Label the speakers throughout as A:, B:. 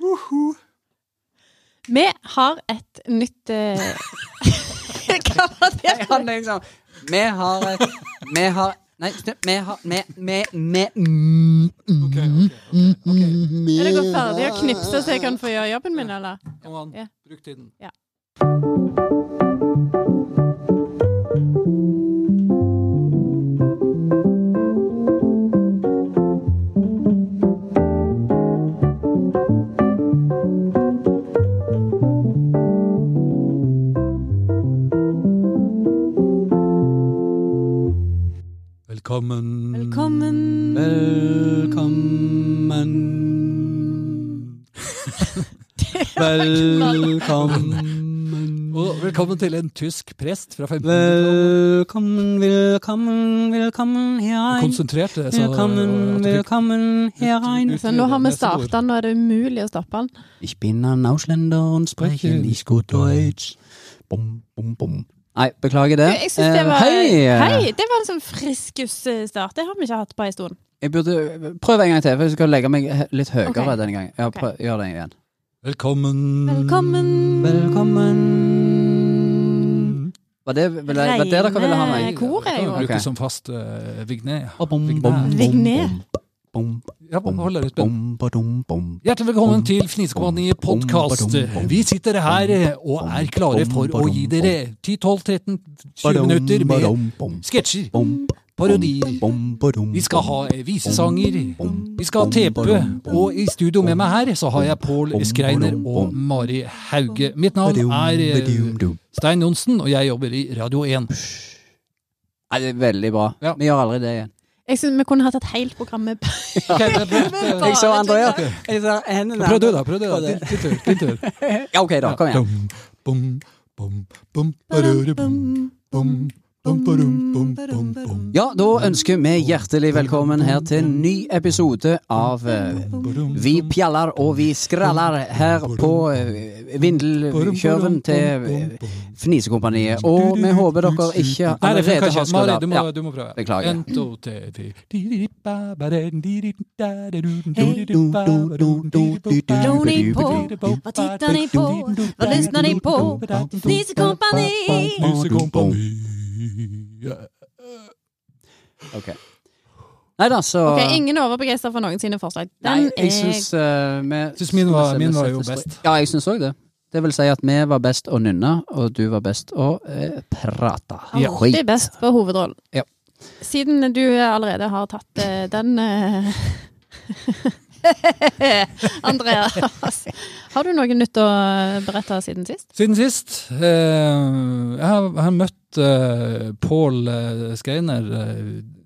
A: Who?
B: Vi har et nytt eh, Hva var det?
A: Nei, han er liksom Vi har et Vi har Nei, snu. Vi har Vi Vi Vi mm, mm,
C: Ok, ok, ok, ok.
B: Er dere ferdige å knipse så jeg kan få gjøre jobben min, eller?
C: Kom an,
B: Ja.
C: bruk tiden. Velkommen.
B: Velkommen.
C: Velkommen. Velkommen. Og velkommen til en tysk prest fra 1500-tallet.
A: Velkommen, velkommen, velkommen herein.
C: Konsentrert. jeg sa, og
A: Velkommen,
C: at du fikk-
A: velkommen herein.
B: Så nå har vi starta den, nå er det umulig å stoppe den.
A: Ich bin ein Ausländer und spreche nicht gut Deutsch. Bom, bom, bom. Nei, beklager det.
B: Jeg synes det
A: Eh,
B: var
A: hei!
B: Hei! Det var en sånn friskus eh, start. Det har vi ikke hatt på en stund.
A: Jeg burde prøve en gang til, for jeg skal legge meg he- litt høyere
B: Ok.
A: denne gangen. Ja,
B: Ok.
A: prøv, gjør det igjen.
C: Velkommen.
B: Velkommen.
A: Velkommen. Var det var det, var det dere ville ha
B: Reine
A: meg?
B: kor er jo
C: Bruker
A: Ok.
C: som fast eh, vigné.
A: Bom, bom,
C: Vigné.
A: bom, bom,
B: Vigné.
A: bom,
C: Ja,
A: bom,
C: hold deg litt på.
A: bom, bom, bom.
C: Hjertelig velkommen til Fnisekompani podkast. Vi sitter her eh, og er klare for å gi dere 10-12-13-20 minutter med sketsjer,
A: Bom,
C: parodier.
A: bom, bom,
C: Vi skal ha eh, visesanger. Vi skal ha tepe. Og i studio med meg her så har jeg Pål Skreiner og Mari Hauge. Mitt navn er eh, Stein Johnsen, og jeg jobber i Radio 1.
A: Nei, det er veldig bra.
C: Ja.
A: Vi gjør aldri det igjen.
B: Jeg synes vi kunne hatt et helt program med
C: Ok, det er bra.
A: Jeg så
B: Bare
A: Andrea.
B: tuller.
A: Jeg så hendene
C: Prøv du, da. Prøv du, da. Din, din tur. Din tur.
A: Ja, OK, da. Kom igjen.
C: Bum, bum, bum, bum, barurubum, bum, bum, barum, bum, bum, bum,
A: Ja, da ønsker vi hjertelig velkommen her til en ny episode av eh,
C: barum.
A: Vi pjallar og vi skrallar her på eh, vindelkjøven til eh, Fnisekompaniet. Og vi håper dere ikke
C: Nei, det funker
A: allerede
C: ikke.
A: har
C: Mari, du
A: skrallet.
C: må,
A: Ja.
C: du må prøve.
A: Beklager.
C: En, to, tre, fire.
B: Hva titter ni på? Hva lyssnar ni på? Fnisekompani!
C: Fnisekompani.
A: Ok. Nei da, så
B: Ok, Ingen overbegeistra for noen sine forslag.
A: Nei,
B: Den
A: jeg
B: er
A: syns eh, vi-
C: Syns min var-
A: vi
C: min var
A: setter
C: jo
A: strek.
C: best.
A: Ja, jeg syns òg det. Det vil si at vi var best å nynne, og du var best å eh, prate.
C: Ja.
B: alltid best på hovedrollen.
A: Ja.
B: Siden du allerede har tatt eh, den eh, Andreas, har du noe nytt å berette siden sist?
C: Siden sist eh, Jeg har, jeg har møtt eh, Pål eh, Skreiner eh,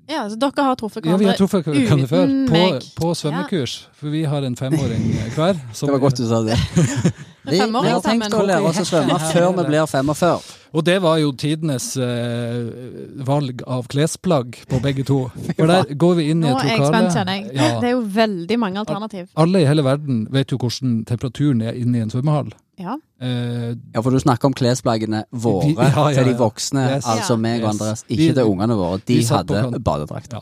B: Ja, så Dere har truffet
C: Ja, vi
B: hverandre
C: har truffet hverandre før.
B: uten
C: På,
B: meg.
C: på svømmekurs. For vi har en femåring eh, hver. som-
A: Det var godt du sa det. Vi, vi
B: femåring
A: har tenkt å
B: sammen.
A: lære oss å svømme før vi blir 45.
C: Og det var jo tidenes eh, valg av klesplagg på begge to. For der går vi inn i
B: Nå
C: et
B: er jeg spent,
C: lokale.
B: kjenner jeg. Det
C: Ja.
B: er jo veldig mange alternativ.
C: Alle i hele verden vet jo hvordan temperaturen er inne i en svømmehall.
B: Ja.
C: Eh,
A: Ja, for du snakker om klesplaggene våre
C: Vi- ja, ja,
A: til de
C: ja.
A: voksne,
C: Yes.
A: altså
B: Ja.
A: meg og
C: Yes.
A: Andreas.
C: Vi-
A: Ikke til ungene våre. De
C: vi satt på
A: hadde
C: kanten.
A: badedrakt.
C: Ja.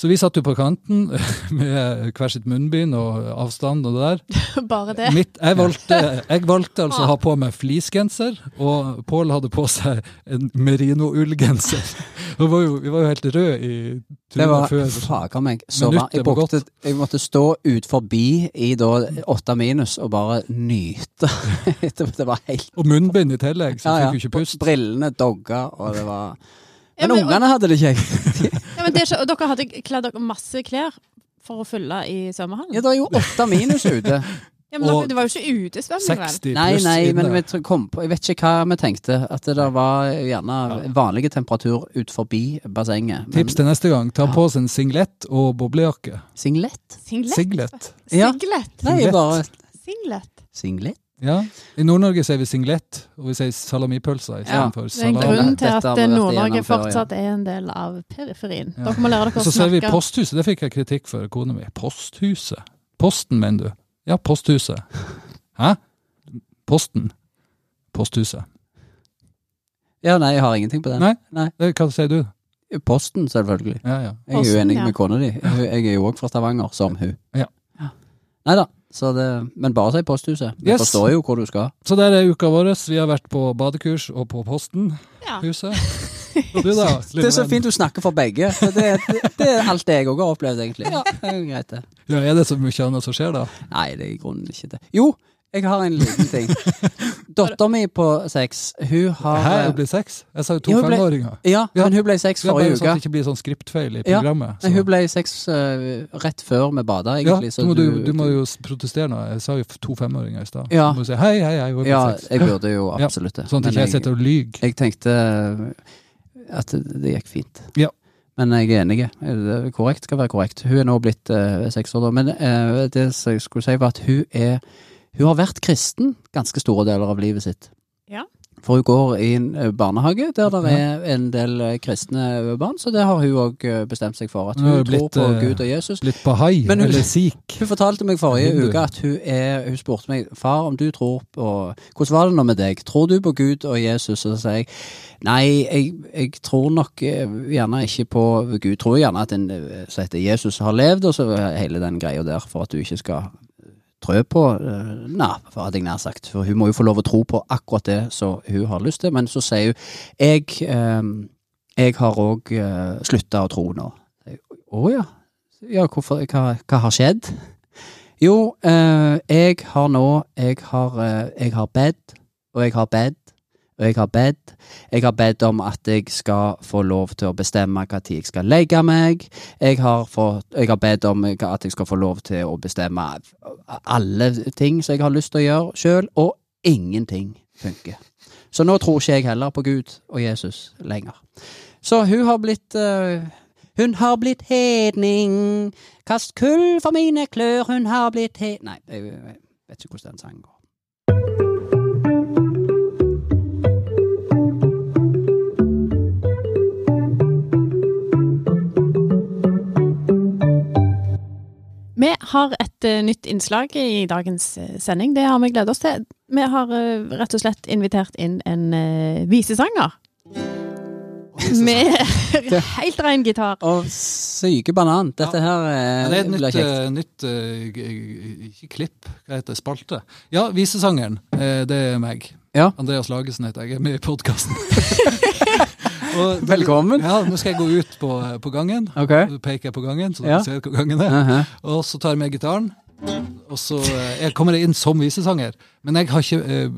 C: så vi satt jo på kanten med hver sitt munnbind og avstand og det der.
B: Bare det.
C: Mitt, jeg, valgte, jeg valgte altså å ha på meg fleecegenser, og Pål hadde på seg en merinoullgenser. Vi var jo, vi var jo helt røde i
A: Det
C: trynet
A: var
C: før.
A: faga meg så varmt.
C: Minuttet
A: Jeg,
C: var godt.
A: brukte- jeg måtte stå ut forbi i da åtte minus og bare nyte. det var helt
C: Og munnbind i tillegg, så jeg fikk jo ikke pust.
A: Brillene dogga, og det var
B: Ja,
A: Men
B: men-
A: ungene hadde det ikke, jeg.
B: Ja, men det er ikke, og dere hadde kledd dere masse klær for å fylle i svømmehallen?
A: Ja, det er jo åtte minus ute.
B: Ja, men dere,
C: Og-
B: det var jo ikke utesvømming, vel?
C: 60
A: Nei,
C: pluss
A: nei, men vi
C: inne.
A: tr- kom på Jeg vet ikke hva vi tenkte. At det der var gjerne vanlige temperatur ut forbi bassenget. Men
C: Tips til neste gang, ta på oss en singlet og boblejakke.
A: singlet?
B: Singlet?
C: Singlet.
A: Ja.
B: Singlet?
A: Nei,
C: Singlet.
A: bare
B: Singlet?
A: singlet.
C: Ja. I Nord-Norge sier vi singlet, og vi sier salamipølser
A: Ja.
B: Det er
C: istedenfor
B: en
A: Salat.
C: salami.
B: grunn til
A: Dette har
B: at
A: vi vært
B: Nord-Norge
A: igjennom før, ja.
B: fortsatt er en del av periferien.
C: Ja.
B: Dere må lære
C: Og
B: dere å
C: så sier vi
B: snakke
C: posthuset, det fikk jeg kritikk for, kona mi. Posthuset? Posten, mener du? Ja, posthuset. Hæ? Posten? Posthuset.
A: Ja, nei, jeg har ingenting på den.
C: Nei. Det, Eh, hva sier du?
A: Posten, selvfølgelig.
C: Ja, ja.
A: Jeg er
B: Posten,
A: uenig
B: ja.
A: med kona di. Jeg jeg er jo òg fra Stavanger, som hun.
C: Ja.
A: Nei da. Så det, men bare si posthuset. Vi
C: Yes.
A: forstår jo hvor du skal.
C: Så der er uka vår. Vi har vært på badekurs og på Posten.
B: Ja.
C: Huset. Og du da, lille
A: Det er så
C: venn?
A: fint du snakker for begge. for Det, det, det er alt det jeg òg har opplevd, egentlig. Det er jo greit, det.
C: Ja, er det så mye annet som skjer, da?
A: Nei, det er i grunnen ikke det. Jo, jeg har en liten ting. Dattera mi på seks, hun har
C: Hæ, det blir seks? Jeg sa jo to
A: eh, Ja, hun ble-
C: femåringer.
A: Ja,
C: Ja.
A: men hun ble seks
C: Ja, bare
A: forrige
C: sånn
A: uke.
C: at det ikke blir sånn skriptfeil i
A: Ja,
C: programmet.
A: Nei,
C: så-
A: hun ble seks eh, rett før vi bada,
C: ja,
A: egentlig.
C: du, må, du, du må jo s- protestere nå. Jeg sa jo f- to femåringer i stad.
A: Ja.
C: Du må si hei, hei, hei. hun er
A: Ja,
C: seks.
A: jeg burde jo
C: Ja,
A: absolutt det.
C: Sånn at ikke jeg
A: Men jeg,
C: sitter og lyver.
A: jeg tenkte eh, at det, det gikk fint.
C: Ja.
A: Men jeg er enig. Det er Korrekt skal være korrekt. Hun er nå blitt eh, seks år, da. Men eh, det som jeg skulle si, var at hun er Hun har vært kristen ganske store deler av livet sitt.
B: Ja.
A: For hun går i en eh, barnehage der det
C: Ja.
A: er en del eh, kristne barn, så det har hun òg bestemt seg for. At
C: Hun har
A: hun
C: jo blitt,
A: tror på
C: eh,
A: Gud og Jesus.
C: Litt bahai
A: Men hun-
C: eller sikh.
A: Hun fortalte meg forrige
C: Hindu.
A: uke at hun, er, hun spurte meg far om du tror på Hvordan var det nå med deg? Tror du på Gud og Jesus? Og så sier jeg nei, jeg, jeg tror nok eh, gjerne ikke på Gud. Tror gjerne at en eh, som heter Jesus har levd, og så hele den greia der for at du ikke skal trø på eh, Nei, hadde jeg nær sagt. For hun må jo få lov å tro på akkurat det som hun har lyst til. Men så sier hun jeg, eh, jeg har òg slutta å tro nå. Jeg, Å ja. Ja, hvorfor, hva, hva har skjedd? Jo, eh, jeg har nå Jeg har, eh, jeg har bedt, og jeg har bedt, og jeg har bedt. Jeg har bedt om at jeg skal få lov til å bestemme hva tid jeg skal legge meg. Jeg har, fått, jeg har bedt om at jeg skal få lov til å bestemme alle ting som jeg har lyst til å gjøre sjøl, og ingenting funker. Så nå tror ikke jeg heller på Gud og Jesus lenger. Så hun har blitt eh, Hun har blitt hedning. Kast kull for mine klør, hun har blitt he... Nei, jeg, jeg vet ikke hvordan den sangen går.
B: Vi har et eh, nytt innslag i dagens eh, sending. Det har vi gledet oss til. Vi har eh, rett og slett invitert inn en eh, visesanger. Med helt ren gitar.
A: Og syke banan. Dette her eh,
C: Ja, det er et
A: blir
C: nytt,
A: kjekt.
C: eh, nytt eh, g- g- Ikke klipp, hva heter det? Spalte? Ja, visesangeren. Eh, det er meg.
A: Ja.
C: Andreas Lagesen heter jeg. Jeg er med i podkasten.
A: Velkommen.
C: Ja, nå skal jeg gå ut på, eh, på gangen.
A: Ok.
C: Så peker jeg på gangen, så dere
A: Ja.
C: ser hvor gangen er.
A: Mhm.
C: Og så tar jeg med gitaren, og så eh, jeg kommer jeg inn som visesanger. Men jeg har ikke eh,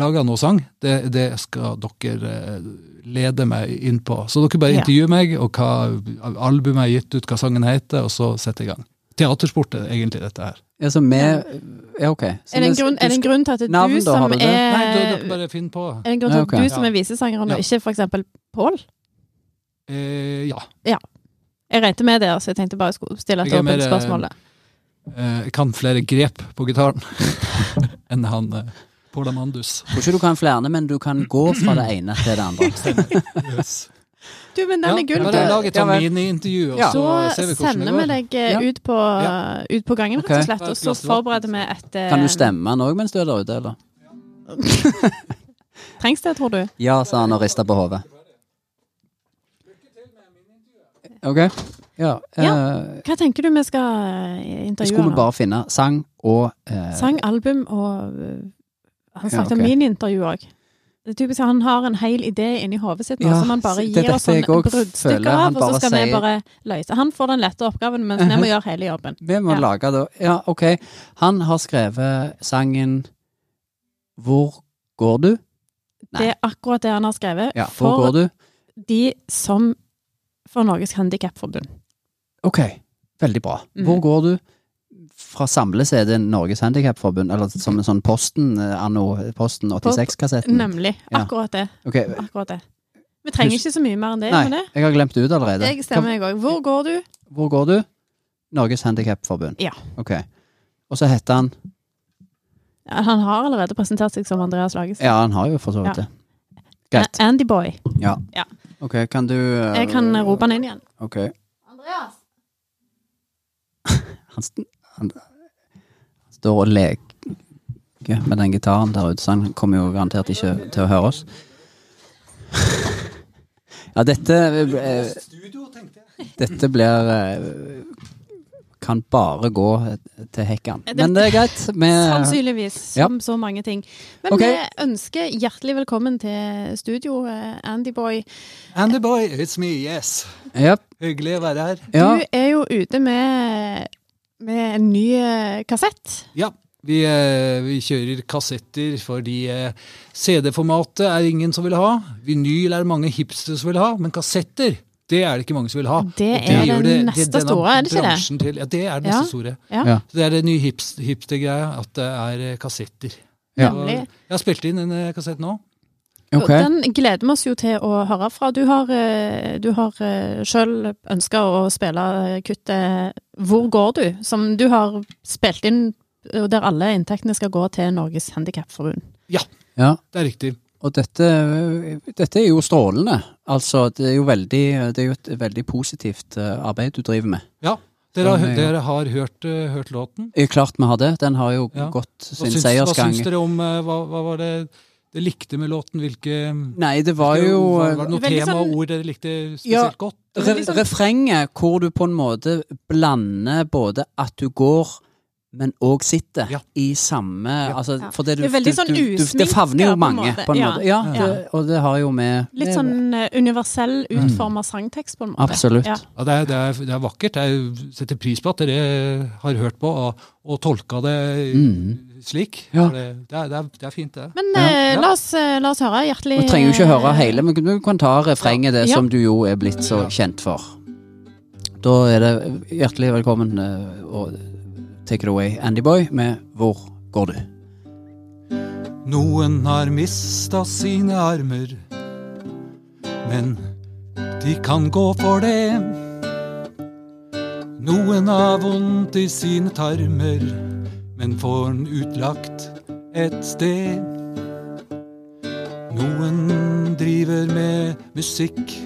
C: laga noe sang. Det, det skal dere eh, lede meg inn på. Så dere bare
B: Ja.
C: intervjuer meg, og hva albumet er gitt ut, hva sangen heter, og så setter jeg i gang. Teatersport er egentlig dette her.
A: Ja, så vi Ja, ok. Så
B: Er det en
A: vi-
B: grunn, er det en grunn til at det er
A: Navn,
B: du
A: da, har
B: som
A: du det?
B: er
C: Nei, da, dere bare finner på.
B: Er det en grunn til
A: Ja,
B: at
A: ok.
B: du som er visesangeren,
C: Ja.
B: og ikke for eksempel Pål?
C: Eh, ja.
B: Jeg regnet med det, så jeg tenkte bare jeg skulle stille et
C: Jeg er mer,
B: åpent
C: eh,
B: spørsmål. der.
C: Eh, jeg kan flere grep på gitaren enn han eh, Paul Amandus.
A: Tror ikke du kan flere, men du kan gå fra det ene til det andre.
B: Du, men den
C: Ja,
B: er gull.
C: bare
A: det-
C: lag et
A: Ja,
C: sånn
A: vel.
C: mini-intervju, og
A: Ja.
B: Så
C: så ser vi hvordan det
B: sender vi
C: går.
B: deg eh,
A: Ja.
B: ut på, ut på gangen, rett
A: Ok.
B: og slett, og så
C: Ta et glass vann.
B: forbereder vi et eh,
A: Kan du stemme nå mens du er der ute, eller?
B: Trengs det, tror du?
A: Ja, sa han og rista på hodet. Ok. Ja. eh,
B: Hva tenker du vi skal eh,
A: så skulle
B: intervjue
A: vi bare finne sang og eh,
B: Sang, album og øh, Han snakket
A: ok.
B: om miniintervju òg. Det er typisk at Han har en hel idé inni hodet sitt nå,
A: Ja,
B: som han bare
A: det er
B: gir oss
A: dette jeg
B: sånn
A: også
B: bruddstykker
A: føler.
B: av,
A: Han
B: og så
A: bare
B: skal vi
A: sier- Mhm.
B: bare løse. Han får den lette oppgaven, mens vi må gjøre hele jobben.
A: Vi må
B: Ja.
A: lage det. Ja, ok. Han har skrevet sangen Hvor går du? Nei.
B: Det er akkurat det han har skrevet
A: Ja, hvor går
B: for
A: du?
B: de som For Norges Handikapforbund.
A: Ok, veldig bra.
B: Mm.
A: Hvor går du? Fra samle-CD Norges Handikapforbund, eller som en sånn Posten eh, anno Posten 86-kassetten?
B: Nemlig.
A: Mm. Ja.
B: Akkurat det.
A: Ok,
B: Akkurat det. Vi trenger ikke så mye mer enn det.
A: Nei,
B: gjør vi det?
A: jeg har glemt det ut allerede.
B: Jeg stemmer, jeg òg. Hvor går du?
A: Hva- Hvor går du? Norges Handikapforbund.
B: Ja.
A: Ok. Og så heter han
B: Ja, Han har allerede presentert seg som Andreas Lagesen.
A: Ja, han har jo for så vidt
B: Ja.
A: det. Greit.
B: Andy Boy.
A: Ja.
B: Ja.
A: Ok, kan du eh,
B: Jeg kan rope han inn igjen.
A: Ok.
B: Andreas!
A: Han, st han står og leker med den gitaren der ute, så han kommer jo garantert ikke til å høre oss. Ja, dette eh,
C: Studio, tenkte jeg.
A: Dette blir eh, kan bare gå til hekkan. Men det er greit. Vi,
B: Sannsynligvis, som så mange ting. Men
A: Ok.
B: vi ønsker hjertelig velkommen til studio, eh, Andy Boy.
C: And the boy, it's me, yes.
A: ja,
C: Hyggelig å være her.
A: ja,
B: Du er jo ute med, med en ny eh, kassett.
C: Ja, vi, eh, vi kjører kassetter fordi eh, CD-formatet er ingen som vil ha. Vinyl er det mange hipsters som vil ha, men kassetter det er det ikke mange som vil ha.
B: Det
C: Og
B: er
C: gjør
B: den neste
C: denne
B: store, er det ikke det?
C: bransjen Til, ja, det er den
B: Ja.
C: neste store.
B: Ja.
A: Ja.
C: Så det er det nye hips, hipster-greia, at det er eh, kassetter.
A: Ja.
C: Så
B: Nemlig.
C: Jeg har spilt inn en eh, kassett nå.
B: Og
A: ok.
B: Den gleder vi oss jo til å høre fra. Du har, eh, du har eh, selv ønska å spille eh, kuttet 'Hvor går du?', som du har spilt inn, og der alle inntektene skal gå til Norges Handikapforbund.
A: Ja.
C: Det er riktig.
A: Og dette, dette er jo strålende. Altså, det er jo veldig, det er jo et veldig positivt eh, arbeid du driver med.
C: Ja, dere har,
A: Ja, ja.
C: dere har hørt, eh, hørt låten.
A: Eh, Klart vi har det. Den har jo
C: Ja.
A: gått
C: Hva
A: sin
C: syns, hva
A: seiersgang.
C: syns dere om eh, hva, hva var det dere likte med låten? Hvilke
A: Nei, det var jo eh,
C: Var var det noe
B: Veldig
C: tema
B: sånn-
C: og ord dere likte spesielt
A: Ja. Altså-
C: godt?
A: re
B: veldig sånn-
A: refrenget hvor du på en måte blander både at du går men òg sitter
C: Ja.
A: i samme altså,
B: Ja.
A: for det, du,
B: Det er veldig sånn
A: Det favner
B: usminket,
A: jo
B: på en
A: mange,
B: måte.
A: på en
B: Ja.
A: måte. Ja, Det, og det har jo med
B: Litt sånn eh, universell utforma sangtekst, på en måte.
A: Mm. Absolutt.
B: Ja.
C: Ja, det, er, det, er, det er vakkert. Jeg setter pris på at dere har hørt på og, og tolka det slik.
A: Mm. Ja.
C: For Det, det, er, det, er, det er fint, det.
B: Men
A: Ja.
B: eh,
C: Ja.
B: La, oss, eh, la oss høre. Hjertelig
A: Vi trenger jo ikke høre hele, men du kan ta refrenget, det
B: Ja.
A: som du jo er blitt så kjent for. Da er det hjertelig velkommen eh, og take it away, Andyboy, med Hvor går du?
C: Noen har mista sine armer, men de kan gå for det. Noen har vondt i sine tarmer, men får den utlagt et sted. Noen driver med musikk,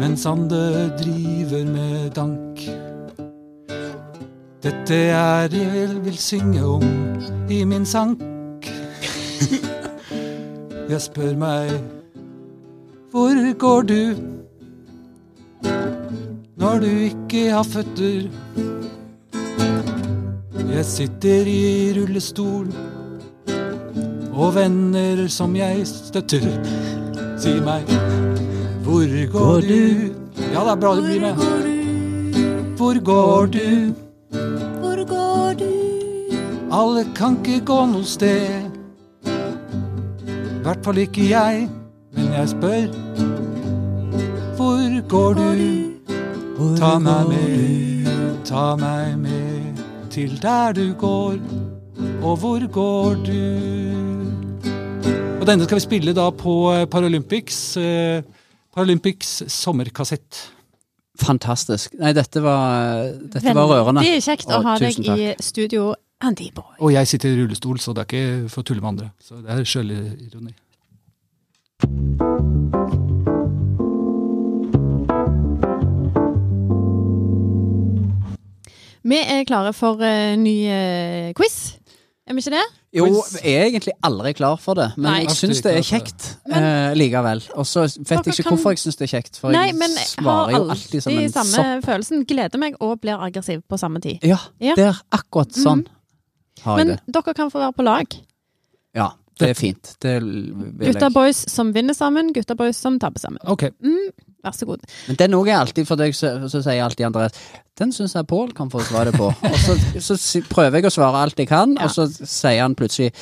C: mens andre driver med dank. Dette er det jeg vil synge om i min sank. Jeg spør meg Hvor går du når du ikke har føtter? Jeg sitter i rullestol og venner som jeg støtter, sier meg Hvor går du? Ja, det er bra du blir med. Hvor går du?
B: Hvor går du?
C: Alle kan ikke gå noe sted. Hvert fall ikke jeg, men jeg spør. Hvor går du? Ta meg med, ta meg med til der du går, og hvor går du? Og denne skal vi spille da på eh, Paralympics. eh, Paralympics sommerkassett.
A: Fantastisk. Nei, dette var, dette var rørende.
B: eh, Veldig kjekt å
A: Å,
B: ha deg
A: tusen takk.
B: i studio, Andy Boy.
C: Og jeg sitter i rullestol, så det er ikke for å tulle med andre. Så det er sjølironi.
B: Vi er klare for eh, ny eh, quiz. Er vi ikke det?
A: Jo, jeg er egentlig aldri klar for det, men
B: Nei.
A: jeg syns det er kjekt eh, likevel. Og så vet
B: Dere
A: jeg ikke
B: kan-
A: hvorfor jeg syns det er kjekt, for
B: Nei, men
A: jeg
B: jeg har
A: svarer jo alltid som en
B: samme
A: sopp.
B: følelsen. Gleder meg og blir aggressiv på samme tid.
A: Ja,
B: Ja. Mm.
A: der, akkurat sånn har jeg
B: Men
A: det.
B: dere kan få være på lag.
A: Ja, det er fint. Det vil
B: Gutta
A: jeg.
B: boys som vinner sammen, gutta boys som taper sammen.
C: Ok.
B: Vær så god.
A: Men den òg er alltid for deg, så, så sier jeg alltid Andreas Den syns jeg Pål kan få svare på. og så, så si- prøver jeg å svare alt jeg kan,
B: Ja.
A: og så sier han plutselig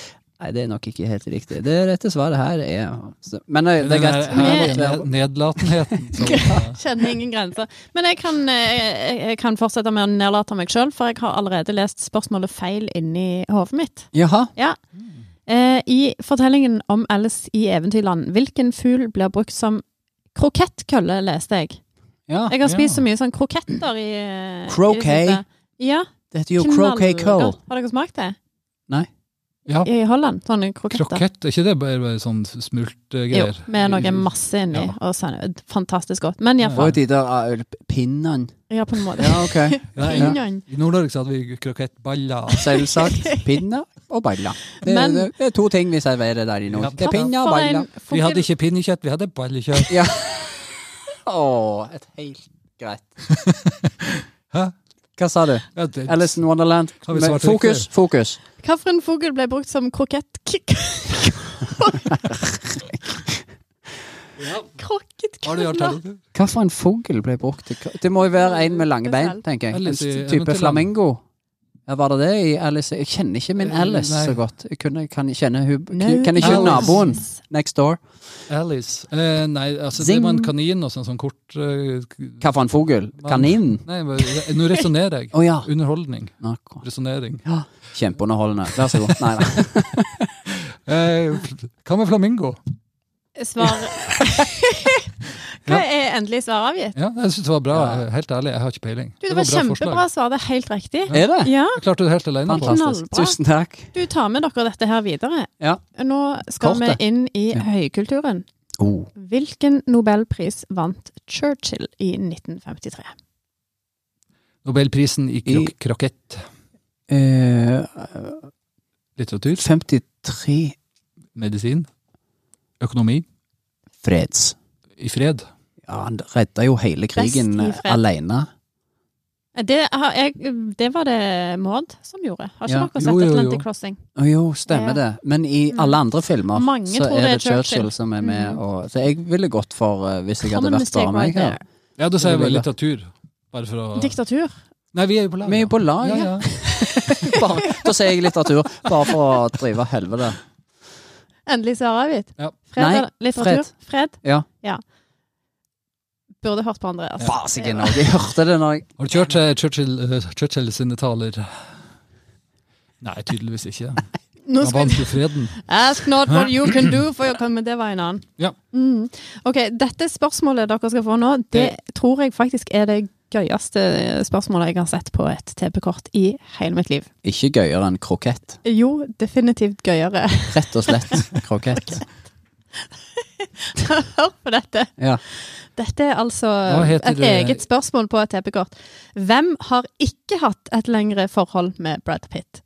A: Nei, det er nok ikke helt riktig. Det dette svaret her er så, Men eh, det er greit.
C: Den her
A: Vi har
C: ned-
A: gått-
C: Nedlatenheten. som-
B: Kjenner ingen grenser. Men jeg kan, eh, jeg, jeg kan fortsette med å nedlate meg sjøl, for jeg har allerede lest spørsmålet feil inni hodet mitt.
A: Jaha.
B: Ja. Eh, I fortellingen om Alice i Eventyrland, hvilken fugl blir brukt som krokettkølle, leste jeg.
A: Ah, Ja.
B: Jeg har
C: Ja.
B: spist så mye sånn kroketter i eh, i det
A: Croquet.
B: siste. Ja.
A: Det heter jo croquet coal.
B: knallgodt. Har dere smakt det?
A: Nei.
C: Ja.
B: I Holland, sånne kroketter.
C: Krokett, er ikke det bare, bare sånn smultgreier?
B: Jo, med noe masse inni.
C: Mm. Ja.
B: Og sånn, fantastisk godt. Men
A: Og
B: iallfall.
A: de der eh, pinnene.
B: Ja, på en måte.
A: Ja, ok.
C: Nei,
A: Ja.
B: Pinjan.
C: I Nord-Norge så hadde vi krokettballer.
A: Selvsagt. Pinne og baller. Det,
B: Men-
A: det er to ting vi serverer der i nord.
C: Ja.
A: Det er pinne og
B: For en
A: baller.
B: fugl.
C: Vi hadde ikke pinnekjøtt, vi hadde ballekjøtt.
A: Ja. Å, et helt greit.
C: Hæ?
A: Hva sa du?
C: Ja, det-
A: Alice in Wonderland.
C: Har vi
A: Men
C: svart riktig?
A: Fokus, fokus.
B: Hvilken fugl ble brukt som krokett...
C: Har du
B: Krokketkunner.
C: alternativ?
A: Hva for en fugl ble brukt til k- Det må jo være en med lange bein, tenker jeg. En
C: Alice i
A: s- type
C: Eventyrland.
A: flamingo. Ja, var det det i Alice? Jeg kjenner ikke min
C: Eh,
A: Alice
C: nei.
A: så godt. Jeg kunne, kan jeg kjenne hun Kan jeg kjenne
C: Alice.
A: naboen next door?
C: Alice. Eh, nei, altså, det
A: Zing.
C: var en kanin og sånn, sånn kort eh, k-
A: Hva for en fugl? Kanin?
C: Nei, men det- nå resonnerer jeg.
A: Å ja.
C: Underholdning.
A: Akkurat.
C: Resonering.
A: Kjempeunderholdende. Vær så god. Nei, nei.
C: Eh, hva med flamingo?
B: Svar Hva er endelig svar avgitt?
C: Ja, jeg syns det var bra. eh,
A: Ja.
C: Helt ærlig, jeg har ikke peiling.
B: Du, det var
C: bra forslag.
B: kjempebra svar. Det er helt riktig.
A: Er det?
B: Ja,
C: Jeg klarte det helt alene. Pål.
A: Fantastisk.
B: Knallbra.
A: Tusen takk.
B: du tar med dere dette her videre.
A: Ja.
B: Nå skal vi
A: Kortet.
B: inn i
A: Ja.
B: høykulturen.
A: Oh.
B: Hvilken nobelpris vant Churchill i 1953?
C: Nobelprisen i krok krokett.
A: Eh,
C: Litteratur.
A: 53
C: Medisin. Økonomi.
A: freds.
C: I fred.
A: Ja, han redda jo hele krigen
B: Fest i
A: eh,
B: fred.
A: alene.
B: Det, har jeg, det var det Maud som gjorde. Har ikke
A: Ja.
B: dere
C: Jo,
B: sett
C: jo, jo.
B: Atlantic Crossing?
A: Å jo, stemmer
B: Ja. Mm.
A: det. Men i alle andre filmer
B: Mange
A: så
B: tror
A: er
B: det er
A: det Churchill,
B: Churchill.
A: som er med.
B: Mm.
A: Og, så jeg ville gått for eh, hvis jeg hadde
B: Common
A: vært
B: mistake
A: bare meg
B: right
A: her.
B: there.
C: Ja, da sier jeg
A: Det
C: vel
A: vil jeg.
C: litteratur. Bare for å
B: Diktatur.
C: Nei, vi er jo på lag.
A: Vi er jo på lag.
C: ja,
A: Ja,
C: ja.
A: bare, da sier jeg litteratur, bare for å drive helvete.
B: Endelig svar avgitt.
C: Ja.
B: Fred,
A: Nei,
B: eller litteratur. Fred.
A: Ja.
B: Burde hørt på Andreas.
A: Fasiken òg, jeg hørte det når jeg
C: Har du kjørt eh, Churchill, eh, Churchill sine taler? Nei, tydeligvis ikke.
B: Nå
C: Han
B: skal
C: vant jo freden.
B: Ask not what you can do for your Men det var en annen.
C: Ja.
B: Mm. Ok, dette spørsmålet dere skal få nå, det tror jeg faktisk er det gøyeste spørsmålet jeg har sett på et TP-kort i hele mitt liv.
A: Ikke gøyere enn krokett.
B: Jo, definitivt gøyere.
A: Rett og slett krokett.
B: Hør på dette.
A: Ja.
B: Dette er altså
C: Hva heter
B: et
C: det?
B: eget spørsmål på et TP-kort. Hvem har ikke hatt et lengre forhold med Brad Pitt?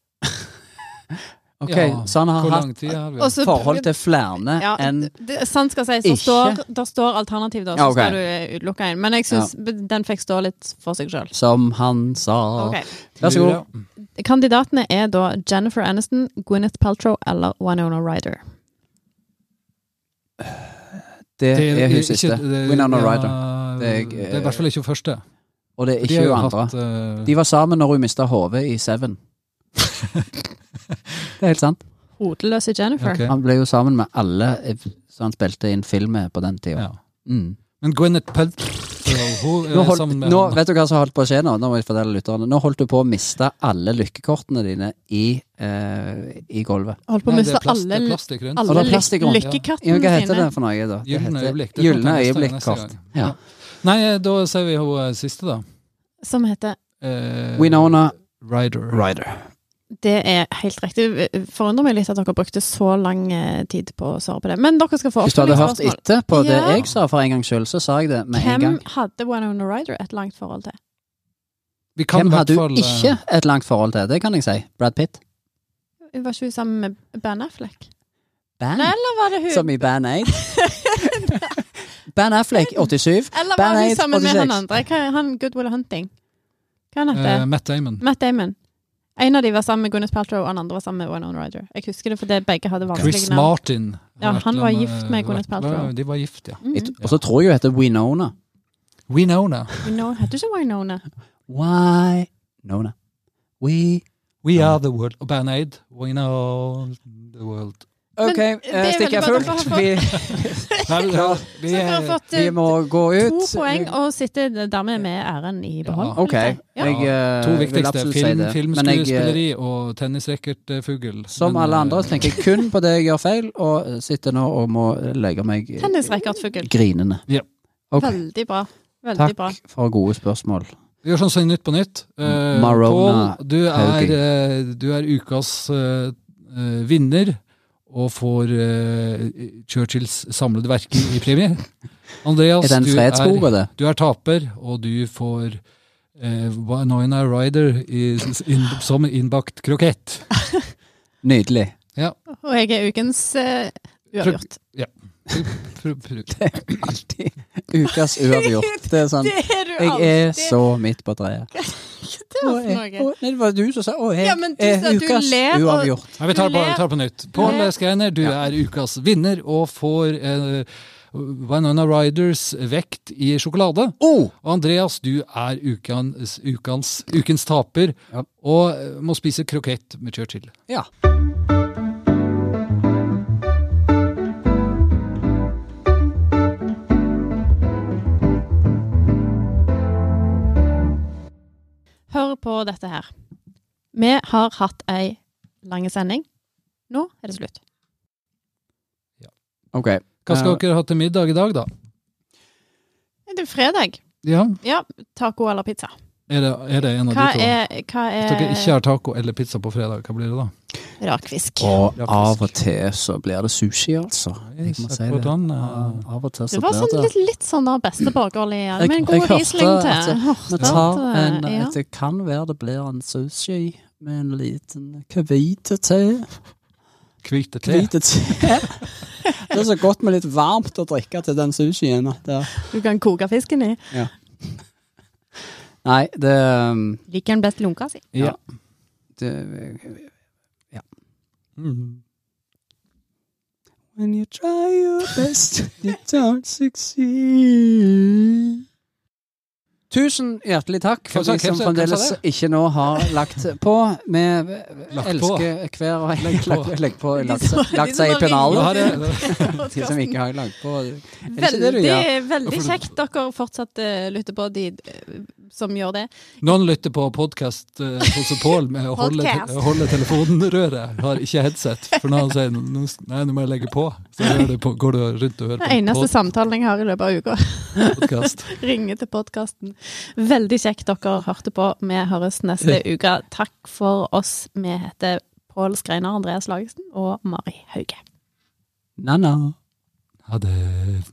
A: Ok,
C: Ja,
A: Så han har
C: Hvor
A: hatt
C: lang tid har vi?
B: Og så-
A: forhold til flere
B: Ja,
A: enn
B: det, sant skal sies, der
A: Ikke.
B: står, der står alternativ, da, så
A: Ja, ok.
B: skal du utelukke en. Men jeg syns den fikk stå litt for seg sjøl.
A: Som han sa. Vær så god.
B: Kandidatene er da Jennifer Aniston, Gwyneth Paltrow eller Winona Ryder.
A: Det
C: Det
A: er hun
C: ikke-
A: siste.
C: det-
A: Winona
C: ja,
A: Ryder.
C: Det
A: Det er-
C: er i hvert fall ikke hun første.
A: Og det er
C: De
A: ikke
C: har
A: hun
C: jo
A: andre.
C: hatt, eh,
A: De var sammen når hun mista hodet i Seven. det er helt sant.
B: Hodeløse Jennifer.
C: ok.
A: Han ble jo sammen med alle som han spilte inn film med på den tida.
C: Ja.
A: Mm.
C: Men Gwyneth Paltrow hun er
A: Nå, holdt,
C: sammen med
A: nå,
C: han.
A: vet du hva som holdt på å skje nå? Nå må jeg fortelle lytterne. Nå holdt du på å miste alle lykkekortene dine i, eh, i gulvet.
B: Holdt på å
C: Nei, det
B: miste
C: er plast- det er
B: alle,
C: plastikk rundt.
A: Og
B: alle
A: det er plast i grunnen. Ja,
B: lykkekattene
A: hva heter det
B: sine.
A: for noe, da? Det
C: Gylne
A: heter
C: øyeblikk. Det kan
A: Gylne
C: ta neste-
A: øyeblikkort.
C: neste gang.
A: Ja.
C: Nei, eh, da sier vi hun eh, siste, da.
B: Som heter
C: Eh,
A: Winona
C: Ryder.
A: Ryder.
B: Det er helt riktig. Forundrer meg litt at dere brukte så lang eh, tid på å svare på det. Men dere skal få
A: Hvis du hadde hørt
B: oppfølgingsspørsmål.
A: etter på det
B: Ja.
A: jeg sa for en gangs skyld, så sa jeg det med en gang.
B: Hvem hadde Winona Ryder et langt forhold til?
C: Vi kan
A: Hvem
C: i hvert
A: hadde
C: fall,
A: du
C: eh,
A: ikke et langt forhold til? Det kan jeg si. Brad Pitt.
B: Hun Var ikke hun sammen med Ben Affleck?
A: Band.
B: Nei, eller var det hun?
A: Som i Band Aid. Band Affleck, 87.
B: Eller
A: Ben
B: var hun
A: Aid,
B: sammen med
A: 86.
B: han andre? Hva, er han Goodwill Hunting? Hva er han heter
C: eh, Matt Damon.
B: Matt Damon. En av de var sammen med Gwyneth Paltrow, og den andre var sammen med Winona Ryder. Jeg husker det fordi begge hadde
C: Chris
B: vanskelige navn.
C: Martin. har
B: Ja,
C: vært
B: han var
C: sammen,
B: gift
C: eh,
B: med Gwyneth
C: vært-
B: Paltrow.
C: De var gift, ja.
B: Mm.
A: Og så tror jeg hun heter Winona.
C: Winona.
B: Winona- Heter ikke Winona?
A: Why Nona? We
C: We are the world. Og Band Aid. Winona the world.
A: OK,
B: Men det er
A: eh, stikket er
B: veldig bra at
A: fullt.
B: dere har
A: Vi,
C: Nei, ja,
B: Så
C: vi
B: dere har
C: er
B: fått
A: vi
B: eh,
A: må gå ut.
B: to poeng, og sitter dermed med æren i behold.
A: OK.
B: vil jeg
A: Jeg
B: si. Ja.
A: eh,
C: to
A: vil
C: viktigste.
A: absolutt si
C: Film,
A: det. Men jeg, eh,
C: filmskuespilleri og eh, tennisracketfugl.
A: som alle andre tenker jeg kun på det jeg gjør feil, og eh, sitter nå og må legge meg eh,
B: Tennisracket fugl.
A: grinende.
C: Ja.
A: Ok,
B: Veldig bra. Veldig bra.
A: Takk for gode spørsmål.
C: Vi gjør sånn som i Nytt på Nytt. Eh,
A: Marona
C: Pål, du, er,
A: Haugen.
C: eh, du er ukas eh, eh, vinner og får eh, Churchills samlede verker i premie. Andreas,
A: Er den
C: du er,
A: fredsboka, det?
C: du er taper, og du får eh, Winona Ryder i, in, som innbakt krokett.
A: Nydelig.
B: Og jeg er ukens eh, uavgjort.
C: Pr- pr-
A: Det er alltid ukas uavgjort. Det er sånn
B: Det er du
A: Jeg er så midt på treet.
B: Det
A: Å, jeg-
B: er noe.
A: å, nei, det var du som sa å, jeg
B: Ja, men du
A: er
B: sa at du
A: ukas
B: ler, og-
A: uavgjort.
C: Nei, vi tar det på,
B: Du ler.
C: tar det på nytt. Pål
B: ler.
C: Skreiner, du er ukas vinner og får eh, Winona Riders vekt i sjokolade.
A: Oh!
C: Og Andreas, du er ukens, ukens, ukens taper
A: Ja.
C: og eh, må spise krokett med Churchill.
A: Ja.
B: Hør på dette her. Vi har hatt ei lang sending. Nå er det slutt.
A: OK.
C: Hva skal
A: Eh,
C: dere ha til middag i dag, da?
B: Det er fredag.
C: Ja,
B: Ja, taco eller pizza.
C: Er det, er det en av
B: Hva
C: de to?
B: er, hva
C: Hvis dere ikke
B: er
C: har taco eller pizza på fredag, hva blir det da?
B: rakfisk?
A: Og
C: Ja, fisk.
A: av og til så blir det sushi, altså. Jeg må si det.
C: Hvordan,
A: Ja,
C: eh,
A: Av og til så
B: Det var
A: blir
B: sånn
A: det
B: litt, litt sånn der beste borgerlig ja.
A: Jeg-
B: Med en
A: jeg
B: god
A: hørte
B: riesling til.
A: at-
B: Hørte
A: Vi tar
B: at,
A: en
B: ja.
A: et- Det kan være det blir en sushi med en liten kvite til.
C: Hvite te?
A: Kvite te. Det er så godt med litt varmt å drikke til den sushien. at det-
B: Du kan koke fisken i.
A: Nei, det, um,
B: Liker den best lunka si.
C: Ja.
A: det
C: Mm.
A: When you try your best, you don't succeed. Tusen hjertelig takk for
C: Hvem sa-
A: de som
C: hvem sa- hvem
A: fremdeles
C: sa
A: ikke nå har lagt på. Vi
C: Lagt på.
A: elsker hver og en.
C: Legg på.
A: Lagt- Legg på.
B: De
A: Lagt
B: som-
A: seg-
B: de
A: lagt
B: som
A: seg i
B: har
A: pennalet.
C: Nå
B: ringt.
C: har jeg,
A: De som ikke har lagt på. det ikke det du
B: Veldig,
A: gjør?
B: veldig
C: Hvorfor du-
B: kjekt dere fortsatt eh, lytter på, de eh, som gjør det.
C: noen lytter på podkast hos Pål med å holde,
B: Podcast.
C: holde telefonrøret. Har ikke headset. For når han sier nå, nei, nå må jeg legge på, så hører du på, går du rundt og hører
B: Den
C: på
B: eneste samtalen jeg har i løpet av uka.
C: podkast.
B: Ringe til podkasten. Veldig kjekt dere hørte på. Vi høres neste uke. Takk for oss. Vi heter Pål Skreiner, Andreas Lagesen og Mari Hauge.
A: Na, na.
C: Ha det.